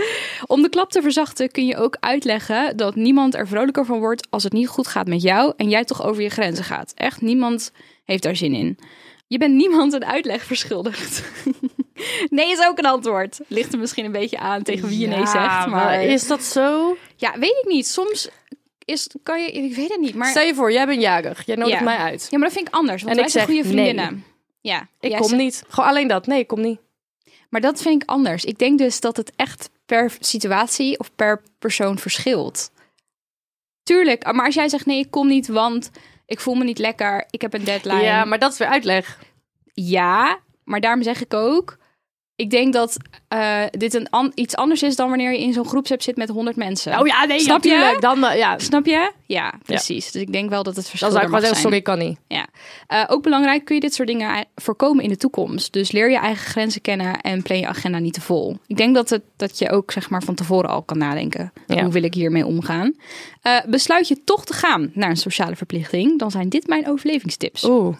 Speaker 6: Om de klap te verzachten kun je ook uitleggen dat niemand er vrolijker van wordt als het niet goed gaat met jou en jij toch over je grenzen gaat. Echt, niemand heeft daar zin in. Je bent niemand een uitleg verschuldigd. nee is ook een antwoord. Ligt er misschien een beetje aan tegen wie je nee zegt. Maar
Speaker 3: Is dat zo?
Speaker 6: ja, weet ik niet. Soms is, kan je, ik weet het niet. Maar
Speaker 3: Stel je voor, jij bent jarig. Jij nodigt
Speaker 6: Ja.
Speaker 3: mij uit.
Speaker 6: ja, maar dat vind ik anders. Want
Speaker 3: En
Speaker 6: wij
Speaker 3: ik
Speaker 6: zijn
Speaker 3: zeg
Speaker 6: goede
Speaker 3: nee.
Speaker 6: vriendinnen. Ja,
Speaker 3: Ik
Speaker 6: jij
Speaker 3: kom
Speaker 6: zegt-
Speaker 3: niet. Gewoon alleen dat. Nee, ik kom niet.
Speaker 6: Maar dat vind ik anders. Ik denk dus dat het echt per situatie of per persoon verschilt. Tuurlijk, maar als jij zegt nee, ik kom niet, want ik voel me niet lekker, ik heb een deadline.
Speaker 3: Ja, maar dat is weer uitleg.
Speaker 6: Ja, maar daarom zeg ik ook, ik denk dat eh, dit een an- iets anders is dan wanneer je in zo'n groepsapp zit met 100 mensen.
Speaker 3: Oh ja, nee,
Speaker 6: Snap je?
Speaker 3: natuurlijk. Dan, eh, ja,
Speaker 6: Snap je? Ja, precies. Dus ik denk wel dat het verschil
Speaker 3: dan zou ik
Speaker 6: er
Speaker 3: gewoon
Speaker 6: mag
Speaker 3: zeggen,
Speaker 6: zijn.
Speaker 3: sorry, ik kan niet.
Speaker 6: Ja. Eh, ook belangrijk, kun je dit soort dingen ei- voorkomen in de toekomst. Dus leer je eigen grenzen kennen en plan je agenda niet te vol. Ik denk dat, het, dat je ook zeg maar, van tevoren al kan nadenken.
Speaker 3: Ja.
Speaker 6: Hoe wil ik hiermee omgaan?
Speaker 3: Oh.
Speaker 6: Eh, besluit je toch te gaan naar een sociale verplichting, dan zijn dit mijn overlevingstips.
Speaker 3: Oeh.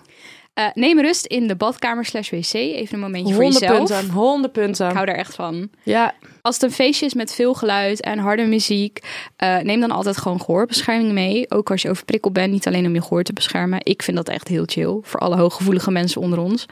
Speaker 6: Eh, neem rust in de badkamer slash wc. Even een momentje voor
Speaker 3: 100
Speaker 6: jezelf.
Speaker 3: punten, 100
Speaker 6: Ik
Speaker 3: punten.
Speaker 6: hou daar echt van.
Speaker 3: Ja,
Speaker 6: Als het een feestje is met veel geluid en harde muziek, eh, neem dan altijd gewoon gehoorbescherming mee. Ook als je overprikkeld bent, niet alleen om je gehoor te beschermen. Ik vind dat echt heel chill voor alle hooggevoelige mensen onder ons.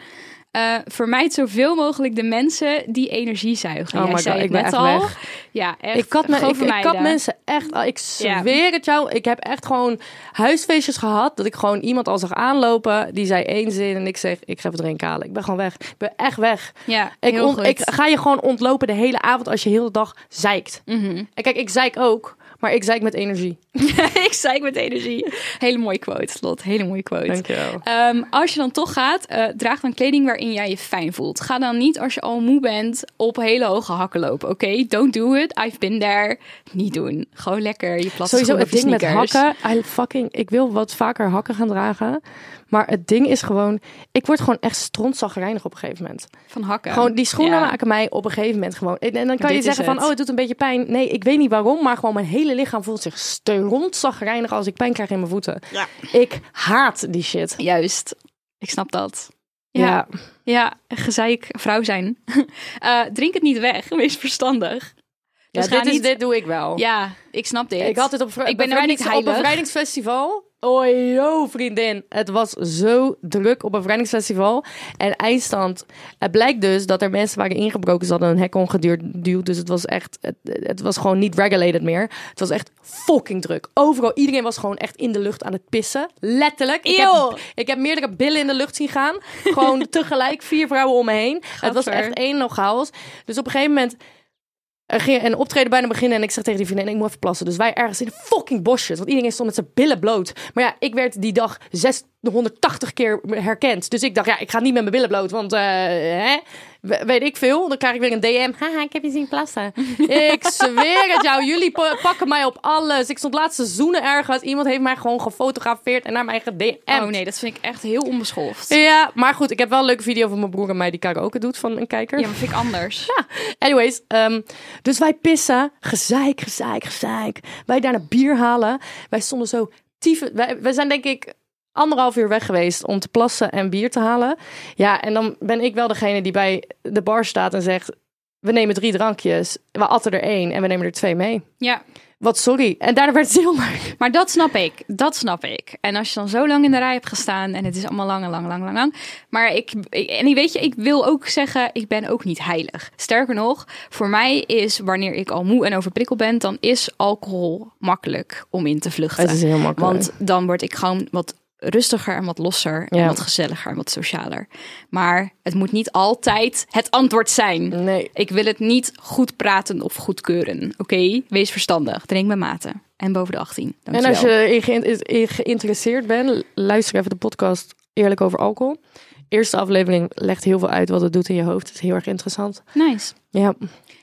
Speaker 6: Eh, vermijd zoveel mogelijk de mensen die energie zuigen.
Speaker 3: Oh
Speaker 6: Jij
Speaker 3: my God,
Speaker 6: zei het
Speaker 3: ik ben
Speaker 6: net
Speaker 3: echt
Speaker 6: al.
Speaker 3: weg.
Speaker 6: Ja, echt.
Speaker 3: ik had, me,
Speaker 6: gewoon
Speaker 3: ik, ik
Speaker 6: vermijden.
Speaker 3: had mensen echt, al- ik
Speaker 6: Ja.
Speaker 3: zweer het jou, ik heb echt gewoon huisfeestjes gehad dat ik gewoon iemand al zag aanlopen, die zei één zin en ik zeg, ik ga even drinken halen. Ik ben gewoon weg. Ik ben echt weg.
Speaker 6: Ja,
Speaker 3: Ik,
Speaker 6: heel
Speaker 3: ont-
Speaker 6: goed.
Speaker 3: ik ga je gewoon ontlopen de hele avond als je heel de dag zeikt. En kijk, ik zeik ook, maar ik zeik met energie.
Speaker 6: ik zei ik met energie. Hele mooie quote, Lot. Hele mooie quote.
Speaker 3: Dankjewel.
Speaker 6: Ehm, als je dan toch gaat, eh, draag dan kleding waarin jij je fijn voelt. Ga dan niet als je al moe bent op hele hoge hakken lopen. Oké, don't do it. I've been there. Niet doen. Gewoon lekker je platte
Speaker 3: Sowieso
Speaker 6: schoenen
Speaker 3: het
Speaker 6: of je
Speaker 3: ding met
Speaker 6: sneakers.
Speaker 3: hakken. I fucking, ik wil wat vaker hakken gaan dragen. Maar het ding is gewoon, ik word gewoon echt strontzagrijnig op een gegeven moment.
Speaker 6: Van hakken.
Speaker 3: Gewoon die schoenen
Speaker 6: Ja.
Speaker 3: maken mij op een gegeven moment gewoon. En, en dan kan je
Speaker 6: Dit is
Speaker 3: zeggen van,
Speaker 6: het.
Speaker 3: oh, het doet een beetje pijn. Nee, ik weet niet waarom, maar gewoon mijn hele lichaam voelt zich strontzagrijnig als ik pijn krijg in mijn voeten. Ik haat die shit.
Speaker 6: Juist. Ik snap dat.
Speaker 3: Ja.
Speaker 6: Ja, gezeik vrouw zijn. Eh, drink het niet weg. Wees verstandig.
Speaker 3: Ja,
Speaker 6: Dus ga
Speaker 3: dit, is,
Speaker 6: niet-
Speaker 3: dit doe ik wel.
Speaker 6: Ja, ik snap dit.
Speaker 3: Oh. Ik had het op, vrij-
Speaker 6: Ik ben ook
Speaker 3: bevrijdings-
Speaker 6: niet heilig.
Speaker 3: op bevrijdingsfestival. Oh, yo, vriendin. Het was zo druk op bevrijdingsfestival. En eindstand. Het blijkt dus dat er mensen waren ingebroken. Ze hadden een hek ongeduwd. duwd, Dus het was echt. Het, het was gewoon niet regulated meer. Het was echt fucking druk. Overal. Iedereen was gewoon echt in de lucht aan het pissen. Letterlijk. Ik
Speaker 6: Eeuw.
Speaker 3: heb, ik heb meerdere billen in de lucht zien gaan. Gewoon tegelijk. Vier vrouwen om me heen. Het was
Speaker 6: Gadver.
Speaker 3: echt één nog chaos. Dus op een gegeven moment er ging een optreden bijna beginnen en ik zeg tegen die vriendin, ik moet even plassen. Dus wij ergens in de fucking bosjes, want iedereen stond met zijn billen bloot. Maar ja, ik werd die dag 680 keer herkend. Dus ik dacht, ja, ik ga niet met mijn billen bloot, want eh, hè, we- weet ik veel. Dan krijg ik weer een DM, haha, ik heb je zien plassen. ik zweer het jou, jullie pa- pakken mij op alles. Ik stond laatste zoenen ergens, iemand heeft mij gewoon gefotografeerd en naar mij gedm'd.
Speaker 6: Oh nee, dat vind ik echt heel onbeschoft.
Speaker 3: Ja, maar goed, ik heb wel een leuke video van mijn broer en mij die karaoke doet van een kijker.
Speaker 6: Ja, maar vind ik anders.
Speaker 3: Anyways, ehm, dus wij pissen. Gezeik, gezeik, gezeik. Wij daarna bier halen. Wij stonden zo tiefe... Wij, wij zijn denk ik anderhalf uur weg geweest om te plassen en bier te halen. Ja, en dan ben ik wel degene die bij de bar staat en zegt... We nemen drie drankjes. We atten er één en we nemen er twee mee.
Speaker 6: Ja,
Speaker 3: Wat sorry. En daarna werd het heel leuk.
Speaker 6: maar dat snap ik. Dat snap ik. En als je dan zo lang in de rij hebt gestaan en het is allemaal lang en lang, lang, lang, lang. Maar ik, ik- en weet je, ik wil ook zeggen, ik ben ook niet heilig. Sterker nog, voor mij is wanneer ik al moe en overprikkeld ben, dan is alcohol makkelijk om in te vluchten.
Speaker 3: Het is heel makkelijk.
Speaker 6: Want dan word ik gewoon wat rustiger en wat losser en
Speaker 3: Ja.
Speaker 6: wat gezelliger en wat socialer. Maar het moet niet altijd het antwoord zijn.
Speaker 3: Nee.
Speaker 6: Ik wil het niet goed praten of goedkeuren. Oké, wees verstandig. Drink met mate. En boven de 18.
Speaker 3: En
Speaker 6: Dankjewel.
Speaker 3: als je in geïn- in geïnteresseerd bent, luister even de podcast Eerlijk over alcohol. Eerste aflevering legt heel veel uit wat het doet in je hoofd. Het is heel erg interessant.
Speaker 6: Nice.
Speaker 3: Ja.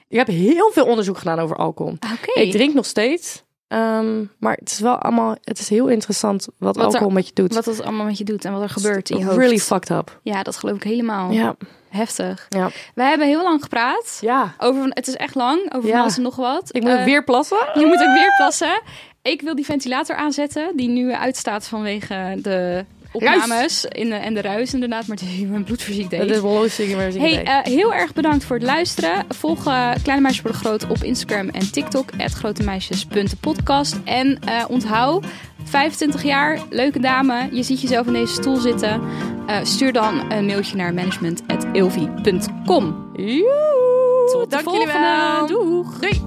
Speaker 3: Ik heb heel veel onderzoek gedaan over alcohol.
Speaker 6: Oké.
Speaker 3: Ik drink nog steeds. ehm, maar het is wel allemaal... Het is heel interessant wat,
Speaker 6: er-
Speaker 3: alcohol met je doet.
Speaker 6: Wat dat allemaal met je doet en wat er gebeurt in je hoofd.
Speaker 3: Really fucked up.
Speaker 6: ja, dat geloof ik helemaal.
Speaker 3: Ja.
Speaker 6: Heftig.
Speaker 3: Ja.
Speaker 6: We hebben heel lang gepraat.
Speaker 3: ja.
Speaker 6: Over, van- het is echt lang. Over
Speaker 3: Ja.
Speaker 6: van alles en nog wat.
Speaker 3: Ik moet
Speaker 6: Eh,
Speaker 3: weer plassen.
Speaker 6: Je moet ook weer plassen. Ik wil die ventilator aanzetten, die nu uitstaat vanwege de opnames in de, en de ruis inderdaad. Maar het is mijn bloedverziek deed.
Speaker 3: Dat is wel logisch. maar
Speaker 6: Hey,
Speaker 3: Hey,
Speaker 6: eh, heel erg bedankt voor het luisteren. Volg eh, Kleine Meisjes Worden Groot op Instagram en TikTok. grotemeisjes.podcast. En eh onthoud, 25 jaar, leuke dame. Je ziet jezelf in deze stoel zitten. Eh, stuur dan een mailtje naar management.ilvi.com.
Speaker 3: Joe.
Speaker 6: Tot de
Speaker 3: eh, Dank jullie wel.
Speaker 6: volgende. Doeg.
Speaker 3: Doei.